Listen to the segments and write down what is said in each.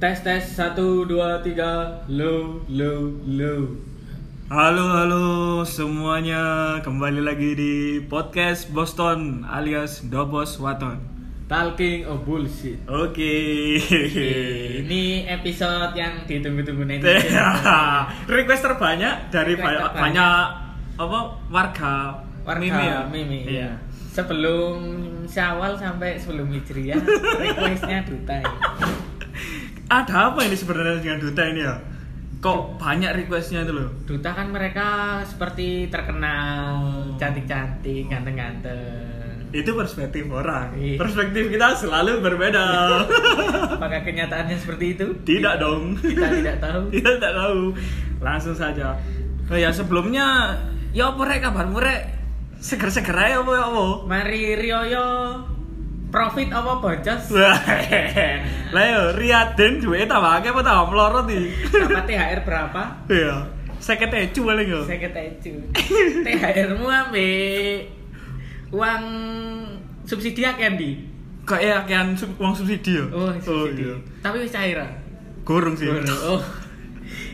Tes tes satu dua tiga low low low. Halo halo semuanya kembali lagi di podcast Boston alias Dobos Waton. Talking of bullshit. Oke. Ini episode yang ditunggu-tunggu nanti. Iya. Request terbanyak dari Request banyak, terbanyak. banyak apa warga Warga Mimi. ya? Mimi. Iya. Sebelum Syawal sampai sebelum Hijriah requestnya duta. ya. Ada apa ini sebenarnya dengan duta ini ya? Kok banyak requestnya itu loh? Duta kan mereka seperti terkenal Oh. cantik-cantik, ganteng-ganteng. Itu perspektif orang. Iya. Perspektif kita selalu berbeda. Apakah kenyataannya seperti itu? Tidak dong. Kita tidak tahu. Kita tidak tahu. Langsung saja. Oh ya sebelumnya, ya apa rek kabarmu rek? Seger-seger aja apa ya apa? Mari Rioyo profit apa boncos? Wah, Lah yo Riyadin duwe tak wae apa tak melorot iki. Dapat THR berapa? Ya. 50 ecu paling yo. Saya ketecu. THR-mu ambek uang subsidi ya Candy. Kayak akean ya, sub- uang subsidi yo. Oh, subsidi. iya. Tapi wis cair. ah? Gorong sih. Oh.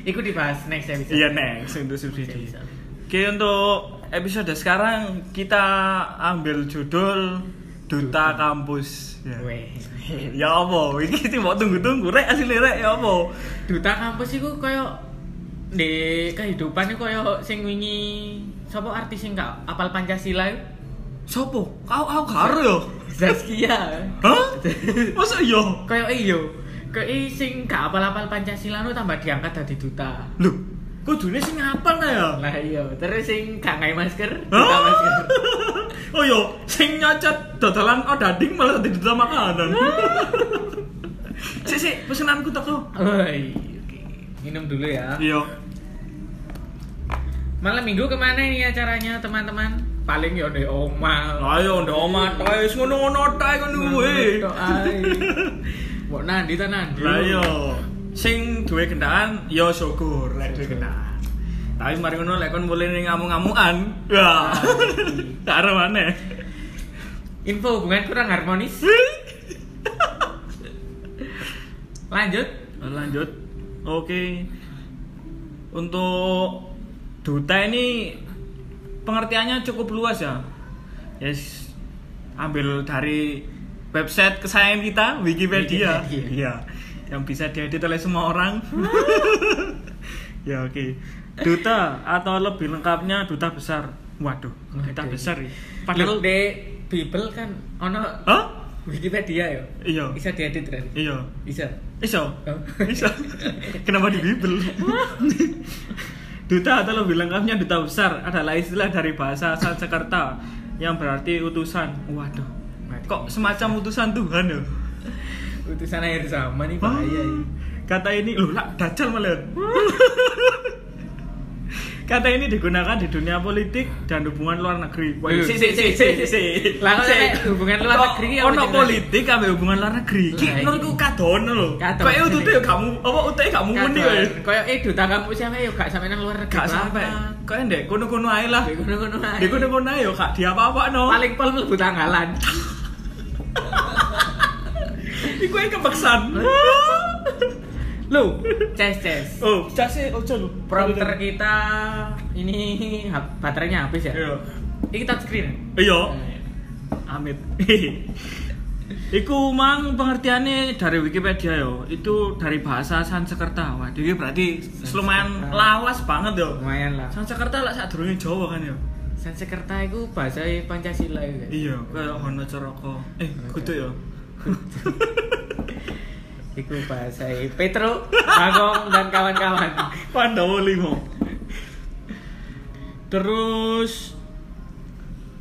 Iku dibahas next ya, episode. Iya next untuk subsidi. Next episode. Oke untuk episode sekarang kita ambil judul Duta Kampus. Ya. Weh. ya apa iki sih mau tunggu-tunggu rek asli rek ya apa Duta kampus iku koyo di kehidupan iku koyo sing wingi sapa artis sing gak apal Pancasila iku? sopo kau kau karo yo Zaskia. hah masa iya Kayak iyo, kayak eh, sing gak apal-apal Pancasila nu tambah diangkat dari duta. lu kok dunia sing ngapal ta ya Lah iya, terus sing gak ngai masker, duta Hah? masker. oh yo sing nyocot dodolan oh dading malah tadi duta makanan sik sik pesenanku teko Woi, oke. minum dulu ya. iya Malam minggu kemana ini acaranya teman-teman? Paling ya di oma. ayo ndak omah tae ngono-ngono ah. tae ngono kuwi Mbok nandi ta nandi. Lah iya. yo, sing duwe gendaan yo syukur lek duwe gendaan. Tapi mari ngono lek kon mulai ning ngamuk-ngamukan. Wah. Karo maneh. Info hubungan kurang harmonis. Lanjut. Nah, Lanjut. Oke. Untuk duta ini pengertiannya cukup luas ya. Yes. Ambil dari website kesayangan kita Wikipedia. Wikipedia. Iya. Yang bisa diedit oleh semua orang. ya oke. Duta atau lebih lengkapnya duta besar. Waduh, duta Waduh. besar ya. Padahal Padahal di Bible kan ono Hah? Wikipedia yo. Iya. Bisa diedit kan? Iya. Bisa. Iso. Oh. Iso. Kenapa di Bible? duta atau lebih lengkapnya duta besar adalah istilah dari bahasa Sanskerta yang berarti utusan. Waduh. Kok semacam utusan Tuhan ya? utusan akhir zaman Ah. nih bahaya ya. Kata ini loh, lah dajal malah. Kata ini digunakan di dunia politik dan hubungan luar negeri. Waduh, sik, sik, sik, sik, sik. Eh. Lah, kok Sik. nek hubungan luar Kok negeri apa ono jenenge? politik ambe hubungan luar negeri. Ki Lah, iya. menurutku kadono lho. Kadon. Kayak utute yo kamu apa utute gak muni Kapan? wae. Kayak eh duta kampus siapa ya gak sampe nang luar negeri. Gak sampai. Kayak ndek kono-kono ae lah. Ngono-ngono ae. Ndek kono-kono ae yo gak diapa-apakno. Paling pol mlebu tanggalan. Iku ae kebeksan. Lu, ces ces. Oh, case ojo lho. Prompter kita ini hap- baterainya habis ya. Iya. Oh. Ini touchscreen. Iya. Amit. Iku mang pengertiannya dari Wikipedia yo. Itu dari bahasa Sanskerta. Waduh, iki berarti lumayan Sanskerta. lawas banget yo. Lumayan lah. Sanskerta lah sadurunge Jawa kan yo. Sansekerta itu bahasa Pancasila itu. Iya, kaya Hono Coroko. Eh, kudu yo. Iku bahasa Petro, Bagong dan kawan-kawan. Pandawa 5. Terus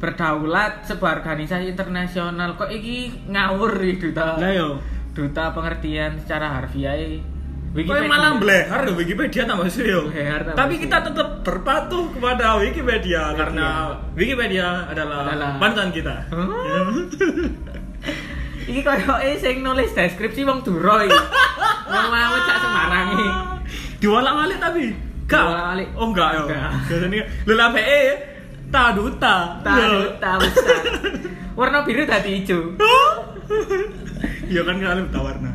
Berdaulat sebuah organisasi internasional kok iki ngawur iki duta. lah yo. duta pengertian secara harfiah Kau malah belehar di Wikipedia tambah sih yo. Blehar tambah Tapi sih. kita tetap berpatuh kepada Wikipedia karena Wikipedia adalah, Adalah- panutan kita. Hah? Ya. Iki koyoke sing nulis deskripsi wong dura iki. Wong mau cak sembarangi. Diwalak-walik tapi Enggak. Diwalak-walik. Oh enggak yo. Enggak. Biasanya lu lah PE ta duta. Tahu Yo. tahu besar. Warna biru tadi hijau. Iya kan kalau tawarna.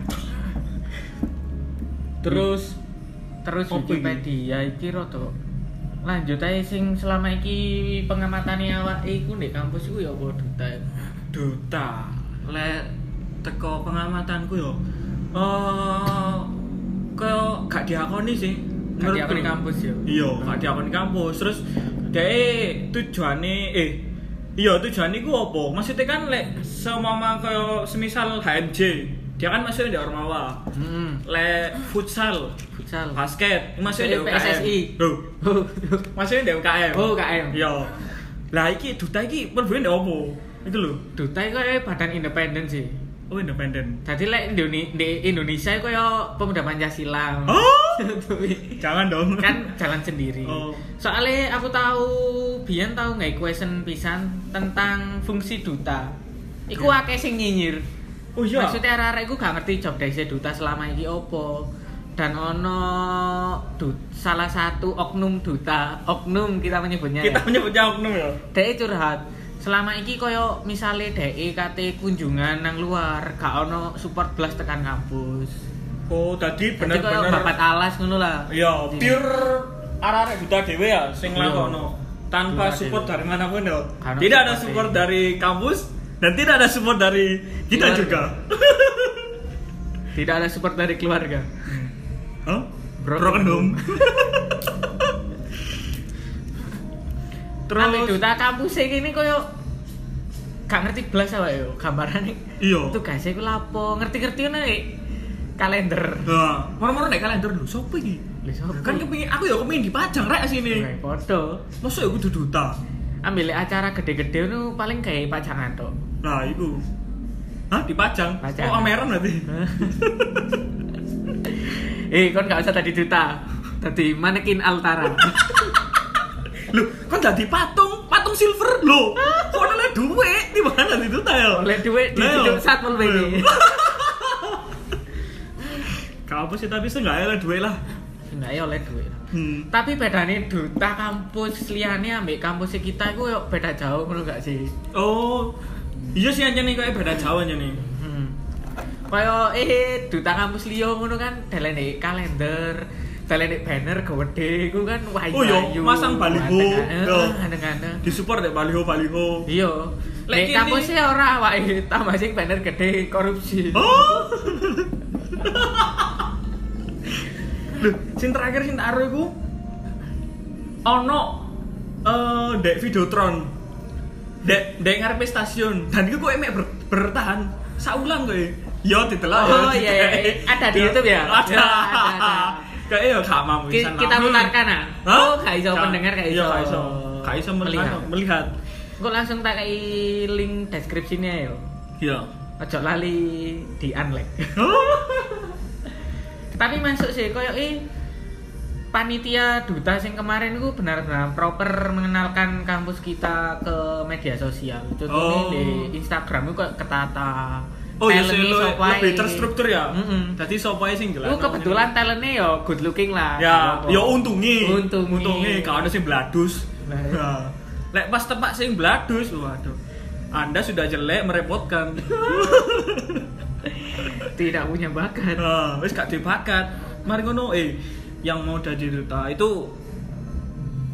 Terus Hmm. terus Apa iki? Wikipedia iki rada lanjut ae sing selama iki pengamatane awak iku ndek kampus iku ya apa duta iku? duta le teko pengamatanku yo eh koyo gak Hmm. diakoni sih Gak Menurutku diakoni lho. kampus ya? yo. iya gak diakoni kampus terus dhek tujuane eh iya tujuane ku apa maksudnya kan lek semama koyo semisal HMJ dia kan maksudnya di Ormawa Heeh. Hmm. le futsal Futsal. basket maksudnya di UKM PSSI. Loh, maksudnya di UKM Oh, UKM. iya lah iki duta iki perbedaan opo itu lho Duta iku ae badan independen sih. Oh independen. Jadi lek Indone- di Indonesia iku ya pemuda Pancasila. Oh, jangan dong. Hmm. kan jalan sendiri. Oh. Soalnya aku tahu Bian tahu nggak question pisan tentang fungsi duta. Iku Iya. akeh sing nyinyir. Oh iya. Maksudnya arek-arek iku gak ngerti job desk duta selama iki opo. Dan ono du- salah satu oknum duta, oknum kita menyebutnya kita ya. menyebutnya oknum ya. Dek curhat. Selama iki koyo misalnya dek kate kunjungan nang luar, gak ono support blas tekan kampus. Oh tadi Jadi koyo babat bener-bener. alas ngono lah. Iya, Jadi- pure arah-arah buta dewe ya, sing Iya. lakono. Tanpa Buta support dewe. dari manapun ya. Karena Tidak ada support support dewe. dari kampus dan tidak ada support dari kita Keluarga. juga. Tidak ada support dari keluarga. Hah? Broken Broken home. Terus Ambil Terus duta kampus iki ini koyo gak ngerti belas apa yo gambarane. iya. Tugasnya iku lapo, ngerti-ngerti ngono iki. kalender. Nah, moro-moro nek kalender lho sopo iki? Lha sapa? Kan kepengin aku ya kepengin dipajang rek sini. Kayak foto. Masa ya kudu duta? Ambil acara gede-gede nu paling kayak pajangan tok. Nah, itu. Hah, dipajang? Pajang. Oh, ameran berarti. eh, kon gak usah tadi duta. Tadi manekin altara. Loh, kan jadi patung, patung silver. Loh, kok ada duit? Di mana ya? itu tayo? Oleh duit di Lah, duduk yo. satpol PP. Kampus sih tapi seenggaknya ada duit lah. Enggak ya oleh duit. Hmm. Tapi bedane duta kampus liane ambek kampus kita iku yo beda jauh ngono gak sih? Oh. Iya sih aja nih kayak beda Jawa aja nih. Hmm. Kaya eh duta kampus liya ngono kan delene kalender, delene banner gede iku kan wayu. Oh, yo, masang baliho. Yo. Ngene-ngene. Di support deh baliho baliho. Iya. Lek Lek kini- kampus e ora awake tambah sing banner gede korupsi. Oh. Loh, sing terakhir sing tak aruh iku ono eh dek Videotron. Dek dek ngarepe stasiun dan iku kowe mek ber, bertahan saulang kowe. Yo ditelok. yo, Oh, iya, iya, iya. Ada di Yo, YouTube ya? Ya, Ada. ada, ada. Kayak yo gak mampu Ki- pisan kita lah. putarkan ah. Hah? Oh, gak iso pendengar gak iso. Iya, gak iso. Gak iso melihat. melihat. Engko langsung tak kei link deskripsinya yo. Iya. Ojo lali di unlike. tapi masuk sih koyo eh panitia duta sing kemarin ku benar-benar proper mengenalkan kampus kita ke media sosial contohnya Oh. di Instagram itu kayak ketata Oh, iya, sih, Talent-nya lo- sopo ae. lebih terstruktur ya. Mm-mm. Tadi sopai sing jelas. Ku kebetulan talentnya yo good looking lah ya Apa? ya untungi Untungi. untungi kalau ada sing bladus Nah. Nah, lek pas tempat sing bladus waduh anda sudah jelek merepotkan tidak punya bakat nah, wis gak dibakat mari ngono eh yang mau jadi duta itu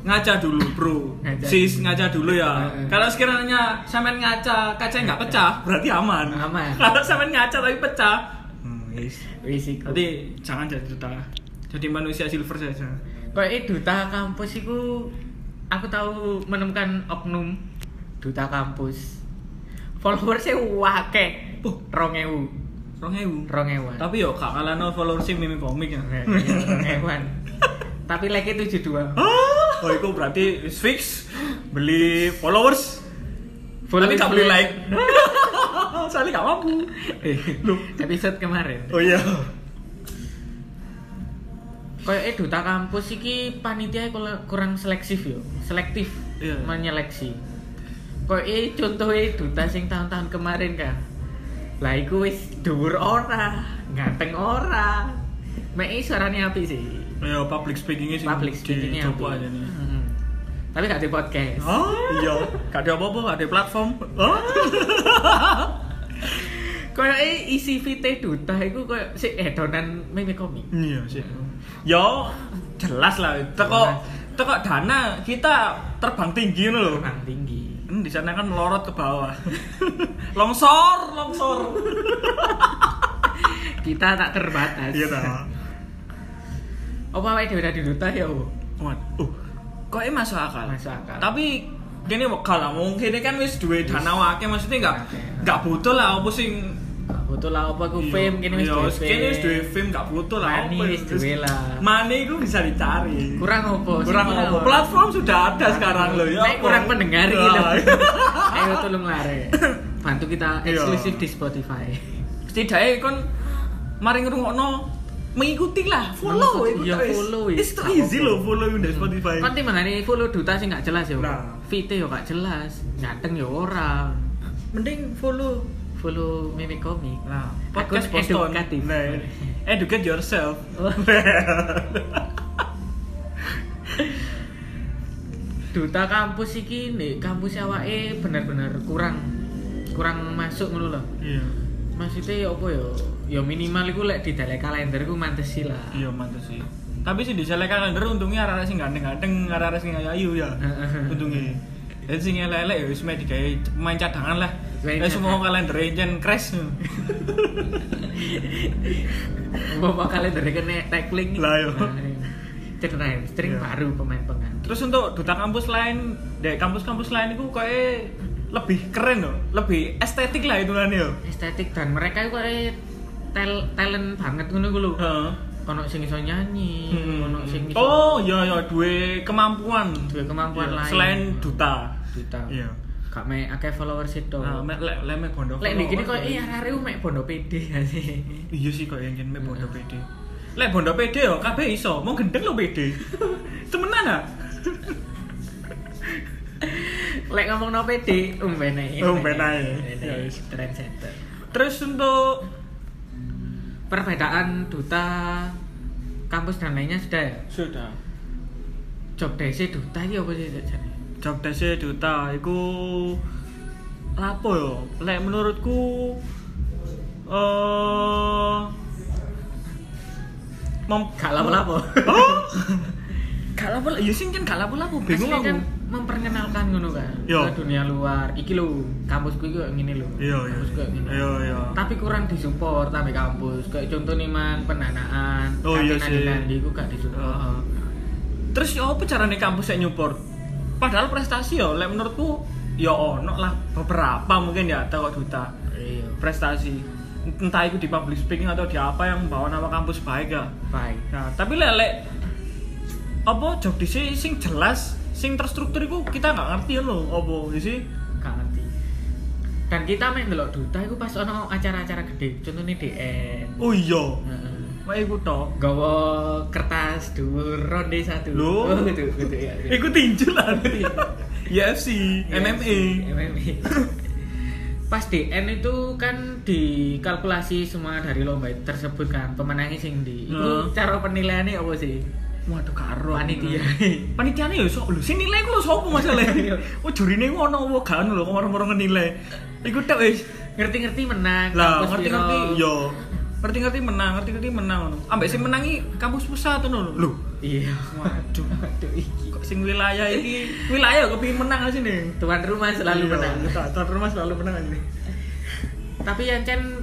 ngaca dulu bro Ngaca sis ngaca dulu ya Heeh. kalau sekiranya sampean ngaca kacanya nggak pecah berarti aman Aman. kalau sampean ngaca tapi pecah hmm, wis. wis iku berarti jangan jadi duta jadi manusia silver saja Kayak eh, duta kampus iku aku tahu menemukan oknum duta kampus followersnya wakeh Puh. rongewu rong ewu rongewan Tapi yo gak kalah no followers sih meme komik ya. hewan tapi like e itu 72 Oh, itu berarti is fix beli followers. Tapi gak beli like. Soalnya gak mampu. Eh, Loh. episode kemarin Oh iya. kayak eh, duta kampus iki panitia kul- kurang selektif yo selektif Iya. menyeleksi kayak eh, contohnya duta sing tahun-tahun kemarin kan lah iku wis dhuwur ora ganteng ora mei suaranya api sih Ayo public speaking sih. public speakingnya api Coba aja nih. Mm-mm. tapi gak di podcast Ah. Oh iya, gak ada apa-apa, gak ada platform. Oh. Kayak "Eh, isi VT Duta iku kayak sik edonan meme komik. Iya sih. Yo, jelas lah. Teko teko dana kita terbang tinggi ngono lho. Kurang tinggi. Hmm, di sana kan melorot ke bawah. longsor, longsor. Kita tak terbatas. Iya ta. Apa wae dhewe di Duta ya, Bu? Waduh. Kok ini masuk akal? Masuk akal. Tapi kene wekal lah mungkin kan wis duwe dana wake maksudnya enggak Akeh. enggak butuh lah opo sing Betul lah apa ku fame kene wis Iya, duwe kene wis duwe fame. fame enggak butuh lah. Money apa ya, wis duwe lah. Money itu bisa dicari. Kurang opo? sih, kurang apa platform sudah ada sekarang loh ya Nek apa? kurang pendengar Ya, gitu. iya. Ayo tolong lare. Bantu kita Iya. eksklusif di Spotify. setidaknya kon mari ngrungokno mengikuti lah follow Mengikuti, iya, guys. follow, iya. it's too easy loh follow di Spotify Kan timangane follow Duta sih nggak jelas ya. Bu. Nah. VT yo nggak jelas, ganteng yo ora. mending follow Follow meme komik. nah podcast Akun Boston edukatif. nah, educate yourself Duta kampus iki nih, kampus awake bener-bener kurang kurang masuk ngono lho. iya Maksudnya ya apa ya? Ya minimal iku lek di kalender ku mantes sih lah. iya mantap sih tapi sih di selek kalender untungnya arah-arah sing gandeng-gandeng arah-arah sing ayu ya untungnya dan sing elek-elek ya wis meh digawe main cadangan lah Main Eh semua cadangan. kalender encen crash Bapak kalender kena tackling nih. Lah, iya. Cek naik string Iya. baru pemain pengganti. Terus untuk duta kampus lain, dek kampus-kampus lain itu kayak lebih keren loh, lebih estetik lah itu kan yo. Estetik dan mereka iku kare tel talent banget ngono ku lho. Heeh. Ono sing iso nyanyi, ono sing iso Hmm. Oh, iya iya duwe kemampuan, Duwe kemampuan Iya, lain. Selain duta. Duta. Iya. Gak me akeh followers itu. Nah, mek lek lek mek bondo. Lek iki kok iya arek mek bondo PD ya sih. Iya sih kok yang jen mek bondo Heeh. PD. Lek bondo PD yo kabeh iso, mau gendeng lo PD. Temenan ah. Lek ngomong no PD, umben ae. Umben ae. Ya Ya wis. trendsetter. Terus untuk Perbedaan duta kampus dan lainnya sudah ya. sudah Job desk duta iki apa sih jane? job desa duta iku lapo yo lek menurutku eh mem Gak lapo-lapo. oh gak lapo ya sing kan gak lapo-lapo Oh, bingung Asli aku kan memperkenalkan ngono kan Yo. ke dunia luar. Iki lho, kampusku iki kok ngene lho. iya iya Kampusku kok ngene. iya iya Tapi kurang disupport sampai kampus. Kayak contoh nih man pendanaan, Oh, iya Tapi sih. nanti-nanti iku gak disupport. Heeh. terus yo apa carane kampus yang nyupport padahal prestasi yo lek menurutku yo ono lah beberapa mungkin ya teko duta Iya. prestasi entah itu di public speaking atau di apa yang membawa nama kampus baik ya Baik. Nah, tapi lelek apa job di sini sing jelas, sing terstruktur itu kita nggak ngerti loh apa di sini. gak ngerti dan kita main delok duta itu pas ono acara-acara gede contohnya DN Oh iya, Heeh. mak iku tok. gawa kertas dhuwur ronde satu Lho? oh, gitu gitu ya Iku E. tinju lah. UFC, Iya, MMA. sih, MMA pas DN itu kan dikalkulasi semua dari lomba tersebut kan pemenangnya sing di Heeh. itu cara penilaiannya apa sih Waduh karo Panitia. Panitiane yo sok lho, sing nilai ku lho sapa masalahe. Oh jurine ku ono apa gak ono lho kok marang-marang ngenilai. Iku tok wis. ngerti-ngerti menang Lah kampus ngerti-ngerti piro. yo. Ngerti-ngerti menang, ngerti-ngerti menang ngono. Ambek sing menangi kampus pusat ngono lho. Lho. iya Waduh. Waduh, iki. Kok sing wilayah ini wilayah kok pengen menang aja nih tuan rumah selalu Iya. menang tuan rumah selalu menang aja nih tapi ancen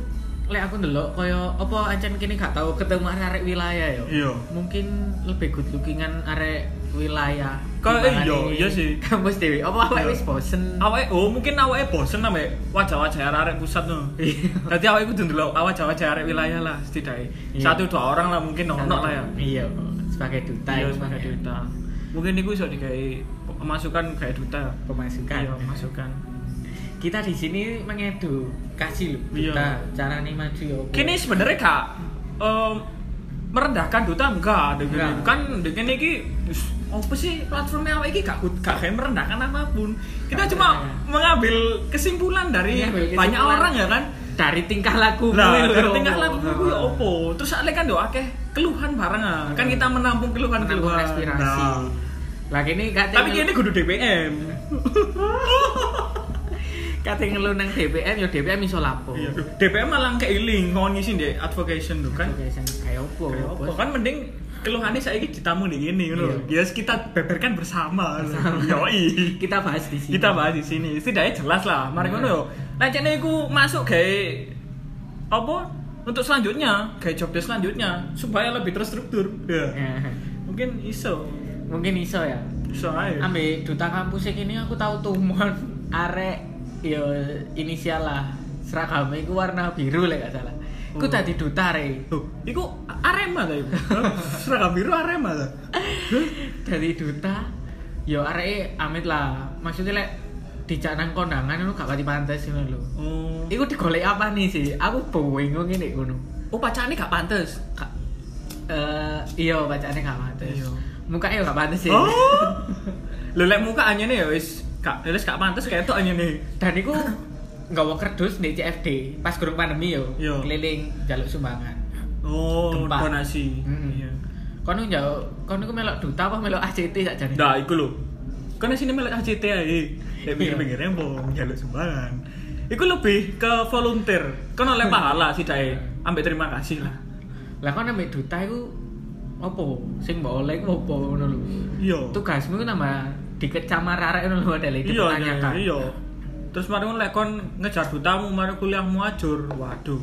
lek aku ndelok kaya apa ancen kini gak tau ketemu arek wilayah yo. Iya. Mungkin lebih good lookingan arek wilayah. Kaya dibanding eh, iya, iya sih. Kampus dewe. Apa awake Iya. wis bosen? awalnya oh mungkin awalnya bosen sama wajah-wajah arek pusat no Iya. jadi awalnya gue dulu wajah-wajah arek wilayah lah setidaknya Iya. satu dua orang lah mungkin ono lah ya Iya, sebagai duta. iya itu sebagai makanya. duta mungkin itu bisa dikai masukan kayak duta Pemasukan. iya masukan Kita di sini mengedukasi lho Iya. duta cara nih maju yo. kini sebenarnya kak em, merendahkan duta enggak Enggak. dengan kan dengan ini wis, apa sih platformnya apa ini gak good- gak kayak merendahkan apapun kita Gak cuma merendahkan. mengambil kesimpulan dari Iya, Mengambil kesimpulan. Oh, iya, banyak orang ya kan dari tingkah laku lah dari tingkah laku itu ya opo terus ada kan doa akeh keluhan bareng ah. kan kita menampung Nah. keluhan Iya. Menampung keluhan aspirasi. Lah kini gak tapi ini kudu DPM kate ngelu nang DPM ya DPM iso lapo. Iya. Duh, DPM malah keiling kon ngisi ndek advocation tuh kan. Kayak sing- kayak opo? Kayak apa? bos? kan mending keluhannya saya ditamu di gini gitu loh. Iya. Yes, kita beberkan bersama. Iya. Bersama. Yoi. Kita bahas di sini. Kita bahas di sini. Setidaknya jelas lah. Mari ngono yo. Nah, cene iku masuk gawe apa? Untuk selanjutnya, gawe job desk selanjutnya supaya lebih terstruktur. Ya. Ya. Mungkin iso. Mungkin iso ya. Iso ae. Ambil duta kampus yang ini aku tahu tumon arek ya inisial lah seragamnya itu warna biru lah gak salah. Iku Oh. tadi duta re. Loh, iku Arema ta iku? Seragam biru Arema ta? dari duta yo arek amit lah maksudnya lek dijak nang kondangan lu gak pati pantes ngono lho Oh. iku digolek apa nih sih aku bingung ini ngono Oh, pacane gak pantes. Ka- eh iya bacaannya gak pantes Iya. mukanya yo gak pantes sih Oh. Lho lek muka anyene ya wis gak wis gak pantes ketok anyene. dan iku nggawa kerdus di CFD pas gurung pandemi yo Iya. keliling jaluk sumbangan Oh, Gempa. donasi. Mm-mm. Iya. kono jauh kono iku melok duta apa melok ACT sak jane Nah, iku lho. Kan sini melek HCT ae. Lek pinggir-pinggir rembong njaluk sumbangan. Iku lebih ke volunteer. Kan oleh pahala sih dae. Ambek terima kasih lah. lah kono ambek duta iku opo sing mbok oleh iku opo ngono lho Iya. tugasmu itu nambah dikecam marah ngono lho ada lagi Iya, iya, dipertanyakan iya. Terus mari ngono lek kon ngejar dutamu, mari kuliahmu ajur. Waduh.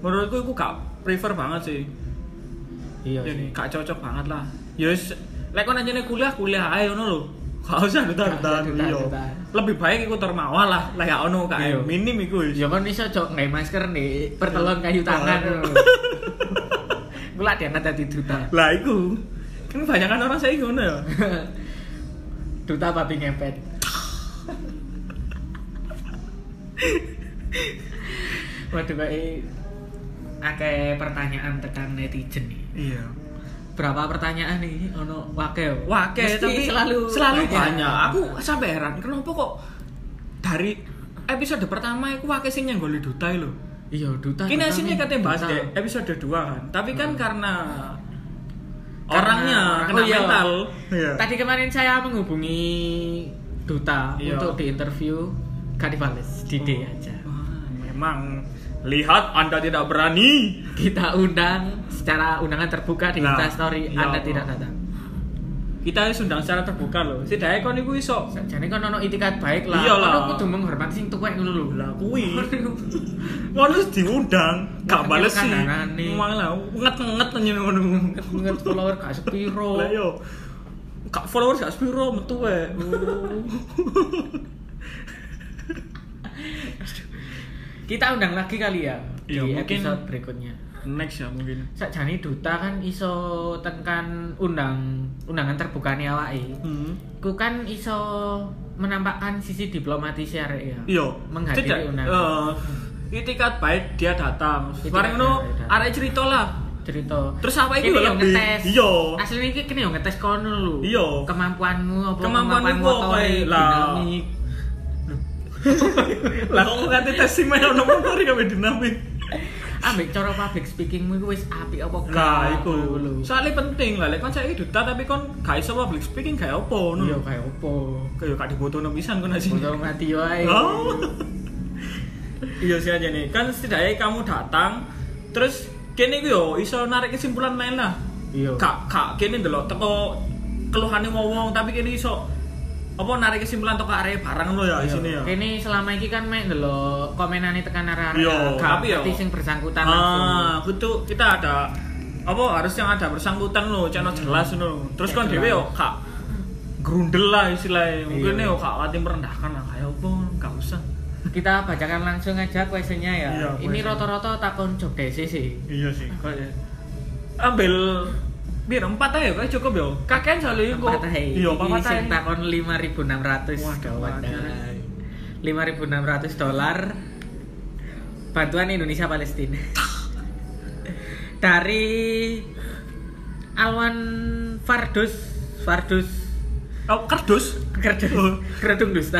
Menurutku iku gak prefer banget sih. iya Ya, sih gak cocok banget lah. Ya wis lek kon anjene kuliah, kuliah ae ngono lho. Gak usah duta-dutaan. Gak usah duta-dutaan. Iya. Lebih baik iku termawa lah, lek gak ono kae Iya. minim iku wis. ya kan bisa cok nggak masker nih pertelon kayu tangan Iya. gue lah dia tadi duta Lah iku. Kan banyak orang saya ngono ya. duta babi ngepet waduh kayak akeh pertanyaan tekan netizen nih Iya. berapa pertanyaan nih ono wakil Wah, kayak tapi selalu selalu banyak. Aku sampai heran kenapa kok dari episode pertama aku pakai sing nyenggoli duta lho. iya duta Kini duta sini nih, katanya bahas duta. Nah. deh episode 2 kan. Tapi kan karena Karena- orangnya kena oh iya. mental. Iya. Tadi kemarin saya menghubungi duta Iya. untuk diinterview Kadivales di D aja. Oh, Wah, Memang lihat Anda tidak berani. Kita undang secara undangan terbuka di Nah, Insta Story iya, Anda Pak. tidak datang. Kita sundang secara terbuka loh. Sidai kon iku iso. Jadi kan ono itikad baik lah. Iya lah. Ono kudu menghormati sing tuwek ngono lho. Lah kuwi. Kon wis diundang, gak Makanya bales sih. kandanane. Malah nget-nget nyen ngono. Nget follower gak sepiro. Lah iya. yo. Kak followers gak sepiro metu wae. Kita undang lagi kali ya Iya, di mungkin- episode berikutnya. Next ya mungkin. Sakjane duta kan iso tekan undang undangan terbukane awake. Hmm. Ku kan iso menampakkan sisi diplomatisnya arek ya. Iya, Cedak, Menghadiri undangan. eh, itikat baik dia datang. Itikat Bareng ngono baik dia datang. arek cerita lah. Cerita. Terus apa iku Kene ya yo lebih? ngetes. Iya. Asline iki kene yo ngetes kono lho. Iya. Kemampuanmu apa Kemampuanmu kemampuan ku apa, motore, eh? Lah. dinamik. Lah kok nganti tes sing main ono motor ya dinamik. Ambek cara public speakingmu iku wis apik apa gak? Lah iku. ngono lho. Soale penting lah lek kon saiki duta tapi kon gak iso public speaking gak apa ngono. Iya kaya opo. Kayak gak dibutuhno pisan kon asine. Foto mati yo ae. Oh. Iya sih aja nih. Kan setidaknya kamu datang terus kene iku yo iso narik kesimpulan lain lah. Iya. Kak, kak kene ndelok teko keluhane wong-wong tapi kene iso apa narik kesimpulan teko arek barang lo ya Iya. isine ya. Kene selama iki kan mek ndelok komenane tekan arah-arah. Gak Iya, tapi yo- ngerti sing bersangkutan langsung. Ah, kudu kita ada apa harus yang ada bersangkutan lo, channel jelas lo. Terus Hmm. Ya, kan dhewe yo jelas. kak grundel lah istilahnya. Mungkin Iya. yo kak ati merendahkan lah kayak apa, gak usah. kita bacakan langsung aja kuesionya ya. Iya, ini kuesionya. rata-rata takon job desi sih. Iya sih, kayak ambil biar empat aja kayak cukup yo. Kakek selalu iku. Empat ae. Iya, Iki empat aja. sing takon 5.600. Waduh, waduh. 5.600 dolar bantuan Indonesia Palestina. Dari Alwan Fardus Fardus Oh, kardus. Kerdus Oh. Kerdung Dusta.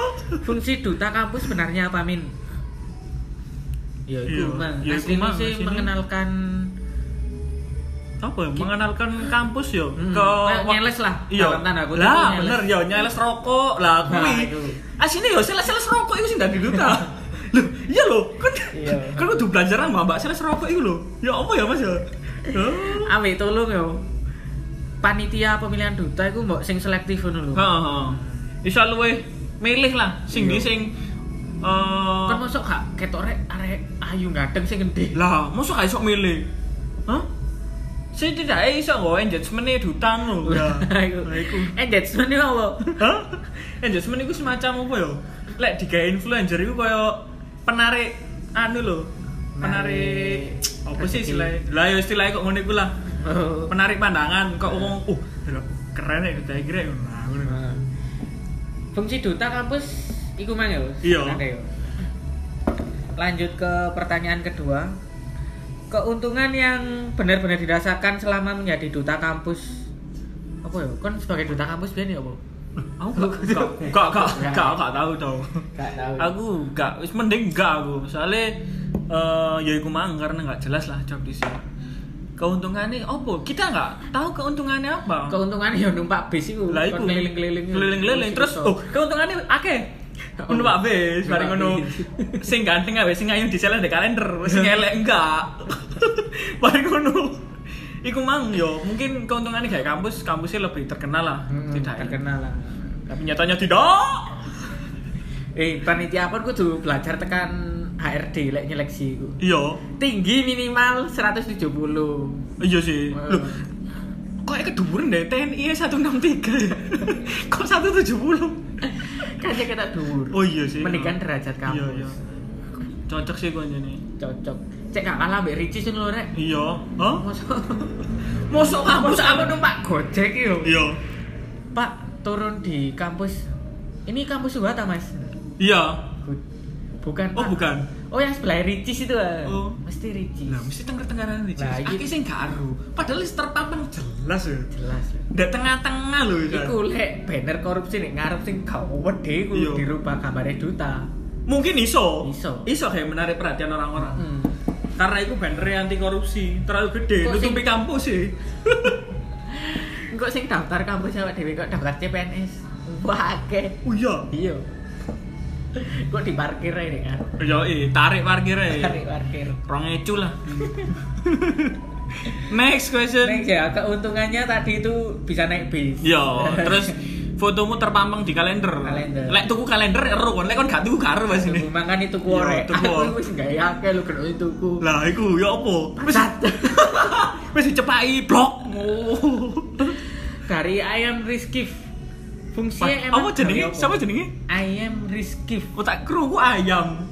Fungsi duta kampus sebenarnya apa min? Iya, Ya Iya, iku mang. ya iku, Aslinya Mang. sih Aslinya. mengenalkan apa ya, mengenalkan kampus yo Hmm, ke kayak nyeles lah, iya dalam tanda kutip lah nyeles. bener yo nyeles rokok Nah, lah kuwi itu. asine yo sales sales rokok itu sing dadi duta lho iya lho kan Iya. kan kudu belajar sama mbak sales rokok itu lho ya apa ya mas ya Oh. Ambek tolong yo. Panitia pemilihan duta iku mbok sing selektif ngono lho. Heeh. Iso luwe milih lah sing di Iya. sing Kan eh mosok gak ketok rek arek ayu ngadeng sing gede. lah, mosok gak iso milih. Hah? Sing tidak iso nggo engagement dutan lho. Lah, Iku. iya. lah iku. Engagement iku apa? Hah? Engagement iku semacam apa ya? Lek digawe influencer iku kaya penarik anu lho. Penarik Penarik apa sih rezeki. istilahnya? Lah ya istilahnya kok ngene iku lah. Oh. Penarik pandangan kok ngomong, "Uh, keren ya kita kira." Nah, ngono. Fungsi duta kampus iku mang yo. Iya. sebenarnya yo. Lanjut ke pertanyaan kedua. Keuntungan yang benar-benar dirasakan selama menjadi duta kampus. Apa yo? Kon sebagai duta kampus biyen ya, yo apa? Aku gak gak gak gak gak gak tahu dong. Gak tahu. Aku gak wis mending gak aku. Soale eh ya iku mang karena gak jelas lah job di sini. Keuntungannya opo? Kita gak tahu keuntungannya apa. keuntungannya ya numpak bis iku. Lah iku kon keliling-keliling. Keliling-keliling terus oh, keuntungannya akeh. Oh. Ngono Pak Bes, Numpak bareng ngono. bis. Sing ganteng ae sing ayu diselen di kalender, sing elek enggak. Bareng ngono. Iku mang yo, mungkin keuntungannya kayak kampus, kampusnya lebih terkenal lah. Hmm, Tidak terkenal lah. Tapi nyatanya tidak. Eh, panitia pun kudu belajar tekan HRD lek nyeleksi iku. Iya, Tinggi minimal 170. iya sih. Heeh. Loh, kok keduburan deh TNI 163. kok 170? kan saya kata dhuwur. Oh iya sih. Mendingan Heeh. derajat kampus. Iya, iya. Cocok sih gua nih. Cocok. Cek gak kalah mbek Ricci sing lho rek. Iya. Hah? Mosok Mosok kampus kampus aku aku numpak Gojek iki lho. Iya. Pak, turun di kampus. Ini kampus Subata, Mas. Iya. Bukan. Oh, Pak. bukan. Oh, yang sebelah Ricis itu. ah. Oh. Mesti Ricis. Lah, mesti tengger tenggaran nih. Lah, Nah, iya. Aki sing gak aru. Padahal wis terpapan jelas ya. Jelas. lah. Ndak tengah-tengah lho ya. Iku lek banner korupsi nek ngarep sing gak wedi iku Iya. dirubah gambare duta. Mungkin iso. Iso. Iso kayak menarik perhatian orang-orang. Hmm. Karena itu bannernya anti korupsi terlalu gede, Kok sing- nutupi kampus ya. sih. Engko sing daftar kampus awak dhewe kok daftar CPNS. Wah, akeh. Oh iya. Iya. Kok diparkir ae nek ngarep. Yo, tarik parkir Tarik ya. parkir. Rong ecu lah. Next question. Neng ya, keuntungannya tadi itu bisa naik bis. Yo, Iya, terus fotomu terpampang di kalender. Kalender. Lek tuku kalender ya, ero kon, lek kon gak tuku karo wis Tuku ini. mangan itu ku Iya, orek. tuku. Aku wis gak akeh lu kena itu ku. Lah iku yo apa? Wis Bangsat. wis dicepai blok. Dari ayam Rizkif. Pa- Fungsinya Apa Iya, emang jenenge? gawe Siapa jenenge? Ayam Rizkif. Otak krungu ayam.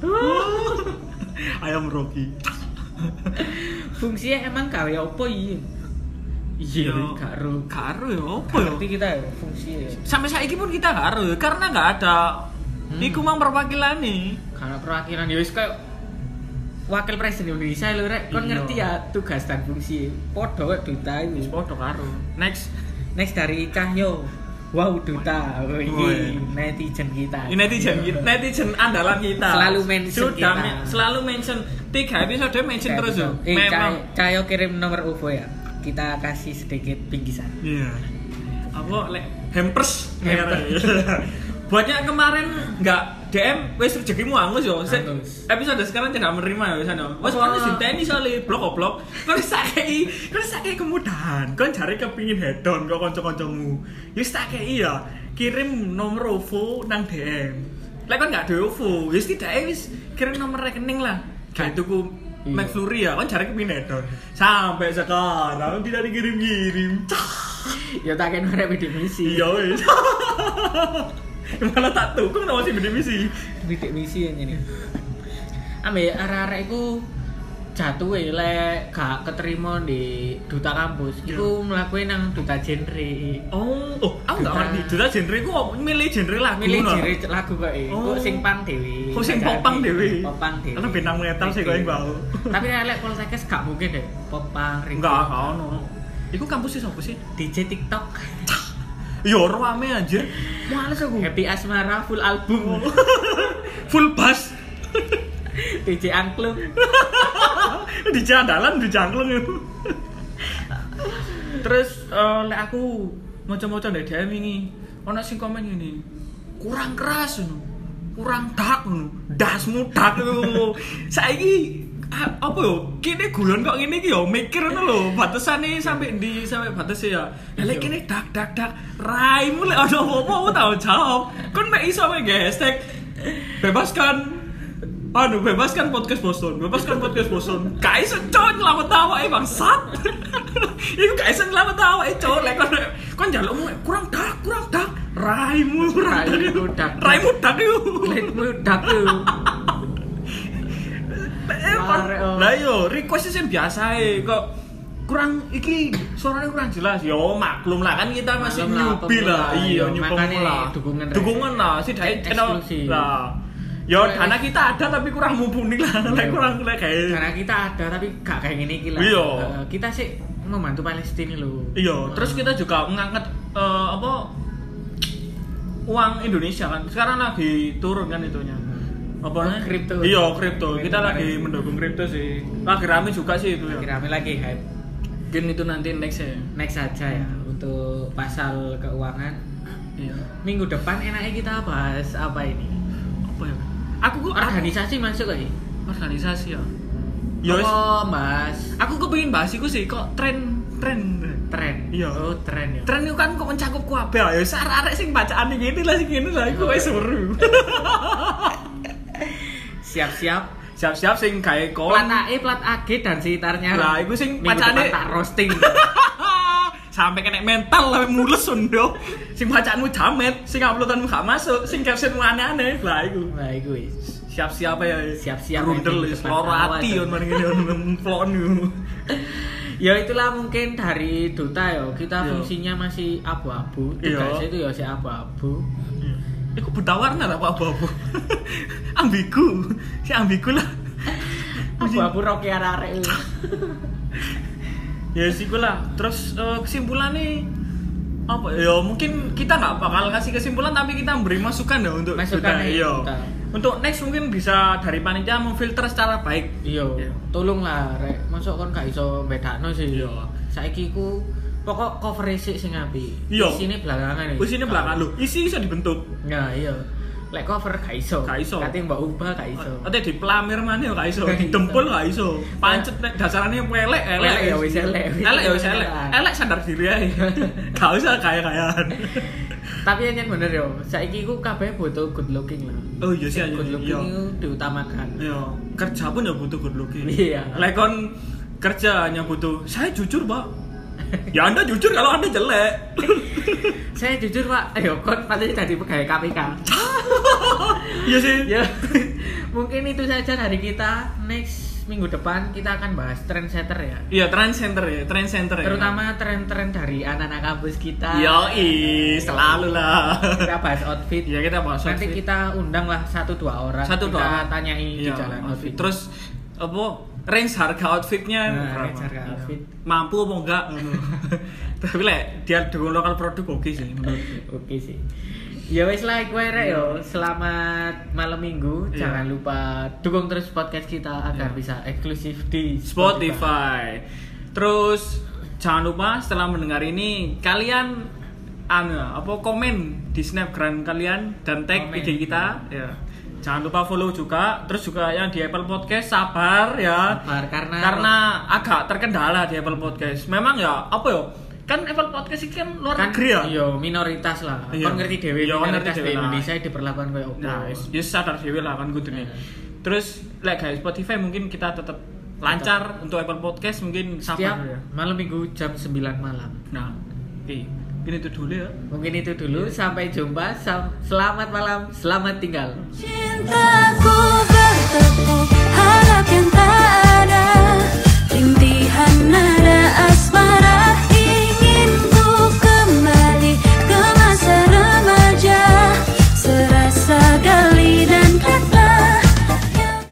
ayam Rocky. Fungsinya emang gawe apa iya? Iya, Yo, gak ro. Karo yo apa yo? Berarti kita ya fungsinya. Sampai saat ini pun kita karo karena nggak ada. Hmm. Iku mang perwakilan nih. Karena perwakilan ya wis kayak wakil presiden Indonesia lho rek, kon Iya. ngerti ya tugas dan fungsi. Podho kok duta iku. Podo karo. Next. Next dari Cahyo. Wow Duta, Oh, ini Woi. netizen kita. Ini netizen kita- netizen andalan kita. Iya. Selalu mention Sudah kita. men- selalu mention tiga episode mention Kayak terus gitu. loh. Eh, Memang. Cahyo, Cahyo kirim nomor UFO ya. Kita kasih sedikit bingkisan. Iya. Apa lek hampers? Hampers. Buat yang kemarin nggak DM, wes rezekimu angus yo. Se- Angus. Episode sekarang tidak menerima ya wes ano. Wes Wah. kan wis diteni soalnya blok kok blok. Kan wis tak kei, kan wis tak kei kemudahan. Kan cari kepingin hedon kok kanca-kancamu. Ya wis tak kei ya. Kirim nomor OVO nang DM. Lek kan nggak ada OVO, ya wis tidak wis kirim nomor rekening lah. Kayak itu ku Iya. McFlurry ya, kan cari kepingin hedon. Sampai sekarang tidak dikirim-kirim. Cah. Ya tak kira nomor bidik misi. Iya wis. Malah tak tuku kenapa sih beda misi? Bidik misi yang ini. Ambe arek-arek iku jatuh ya lek gak keterima di duta kampus. Iku melakukan nang duta genre. Oh, oh, aku nggak ngerti. Duta genre ku apa? milih genre lagu milih ngono. jere lagu kok eh Oh. kok sing pang dhewe Kok sing popang dhewe? popang dhewe Ana bintang metal sih kok yang bau. tapi nek lek polsekes gak mungkin deh popang ring Enggak, enggak ono. Iku kampus sih sapa sih? DJ TikTok Ya rame anjir. males aku Happy Asmara full album Oh. Full bass DJ Angklung di jalan di jangklung itu. terus eh, lek aku maca-maca ndek DM ini ono sing komen ini kurang keras ngono. Kurang dak ngono. Dasmu dak ngono. Saiki a- apa yo kene gulon kok ngene iki yo mikir ngono lho batasane sampai di sampai batas ya Lah, lek kene dak dak dak raimu lek ono apa-apa aku tau jawab kon mek iso mek nge hashtag bebaskan Anu, bebaskan podcast Boston, bebaskan podcast Boston. Gak iso cowok nyelamat tawa eh bangsat. Iku gak iso nyelamat tawa eh cowok lek kon kon jalukmu kurang dak, kurang dak. Raimu, kurang dak. Raimu dak. Raimu dak yo. Lek meledak tuh. Eh, kon- Arek, oh. Lah yo, request sing biasa e kok kurang iki suaranya kurang jelas yo maklum lah kan kita masih Maklum lah, newbie lah pemula, iya yo. new Makanya pemula dukungan, Rek. dukungan lah sih dari channel Eksklusif. lah yo Rek. dana kita ada tapi kurang mumpuni lah Iya. lek kurang lek kayak Karena kita ada tapi gak kayak gini gila. Iya. Eh, kita sih membantu Palestina lho. Iya, terus kita juga mengangkat eh, apa uang Indonesia kan. Sekarang lagi turun kan itunya. Apa namanya? Kripto. Iya, kripto. Kita Kripto lagi kemarin. mendukung kripto sih. Lagi rame juga sih itu ya. Lagi rame lagi hype. Mungkin itu nanti next ya. Next saja ya untuk pasal keuangan. Iya. Minggu depan enaknya kita bahas apa ini? Apa ya? Aku kok Organisasi organisasi, masuk gak ya? organisasi ya. Yo, wis. Apa bahas aku kepengin bahas iku sih kok tren tren tren? Iya. Oh, tren ya. tren itu kan kok mencakup kuabe ya wis arek-arek sing bacaan iki lah sing ngene lah iku wis seru. Siap-siap. Siap-siap sing Plat gawe kon. A, E, plat AG dan sekitarnya. Lah, iku sing Minggu depan pacane- tak roasting. sampai kena mental sampai mulus sondo sing bacaanmu jamet sing uploadanmu gak masuk sing captionmu aneh-aneh lah iku Lah iku wis. siap-siap ya Siap-siap ya, rundel di wis depan loro awak, ati tuh. on mari ngene mplon yo ya itulah mungkin dari duta ya kita Iya. fungsinya masih abu-abu Iya. tugasnya itu ya si abu-abu iku buta warna apa apa-apa ambigu si ambigu lah abu-abu roki arek ya sih gue lah terus eh, kesimpulannya apa ya mungkin kita nggak bakal ngasih kesimpulan tapi kita beri masukan ya untuk Masukan Duta, ya, iya. Duta. untuk next mungkin bisa dari panitia memfilter secara baik iya Iya. tolonglah rek masuk kon gak iso bedakno sih Iya. saiki ku pokok cover sik sing apik Iya. isine belakangan ya. Wis ini belakang lu. Isi bisa dibentuk. nah iya lek cover gak iso Gak iso. kate mbok ubah gak iso Ate di pelamir mana ya gak iso, Gak di iso. dempul gak iso. Pancet nek dasarane pelek, elek. Elek ya wis elek. Elek ya wis elek. Elek sadar diri ae. Gak usah kaya-kayaan. tapi yang bener yo saiki ku kabeh butuh good looking lah Oh iya sih ayo. good Iya. looking itu diutamakan Iya. Kerja pun ya butuh good looking. Iya. Lek kon kerja hanya butuh saya jujur, Pak. Ya Anda jujur kalau Anda jelek. saya jujur pak ayo kon pasti jadi pegawai KPK Iya sih. ya mungkin itu saja dari kita next minggu depan kita akan bahas trendsetter ya Iya, trend center ya, trend center ya. terutama tren-tren dari anak-anak kampus kita Yoi, selalu lah. kita bahas outfit Iya, kita bahas nanti outfit. kita undang lah satu dua orang Satu kita dua orang. tanyai di Iya, jalan outfit, outfit. Terus apa range harga outfitnya Nah, berapa? range harga Iya. outfit. mampu apa enggak tapi lek dia dukung lokal produk oke sih menurutku oke sih ya wes lah gue rek yo selamat malam minggu Iya. jangan lupa dukung terus podcast kita agar Iya. bisa eksklusif di Spotify terus jangan lupa setelah mendengar ini kalian anu apa komen di snapgram kalian dan tag Komen. IG kita ya jangan lupa follow juga terus juga yang di Apple Podcast sabar ya Sabar, karena karena agak terkendala di Apple Podcast. Memang ya apa ya? Kan Apple Podcast ini kan luar kan negeri ya. yo minoritas lah Iya. kon ngerti dewe Yo, ngerti Nah. minoritas di dewe lah. Indonesia diperlakukan kayak opo Nah, wis- wis sadar dhewe lah kan kudune. Terus lek guys Spotify mungkin kita tetap lancar untuk Apple Podcast mungkin setiap sabar ya. malam minggu jam 9 malam Nah, oke. Ini itu dulu ya. mungkin itu dulu sampai jumpa Sam- selamat malam selamat tinggal Cintaku bertepuk harap yang tak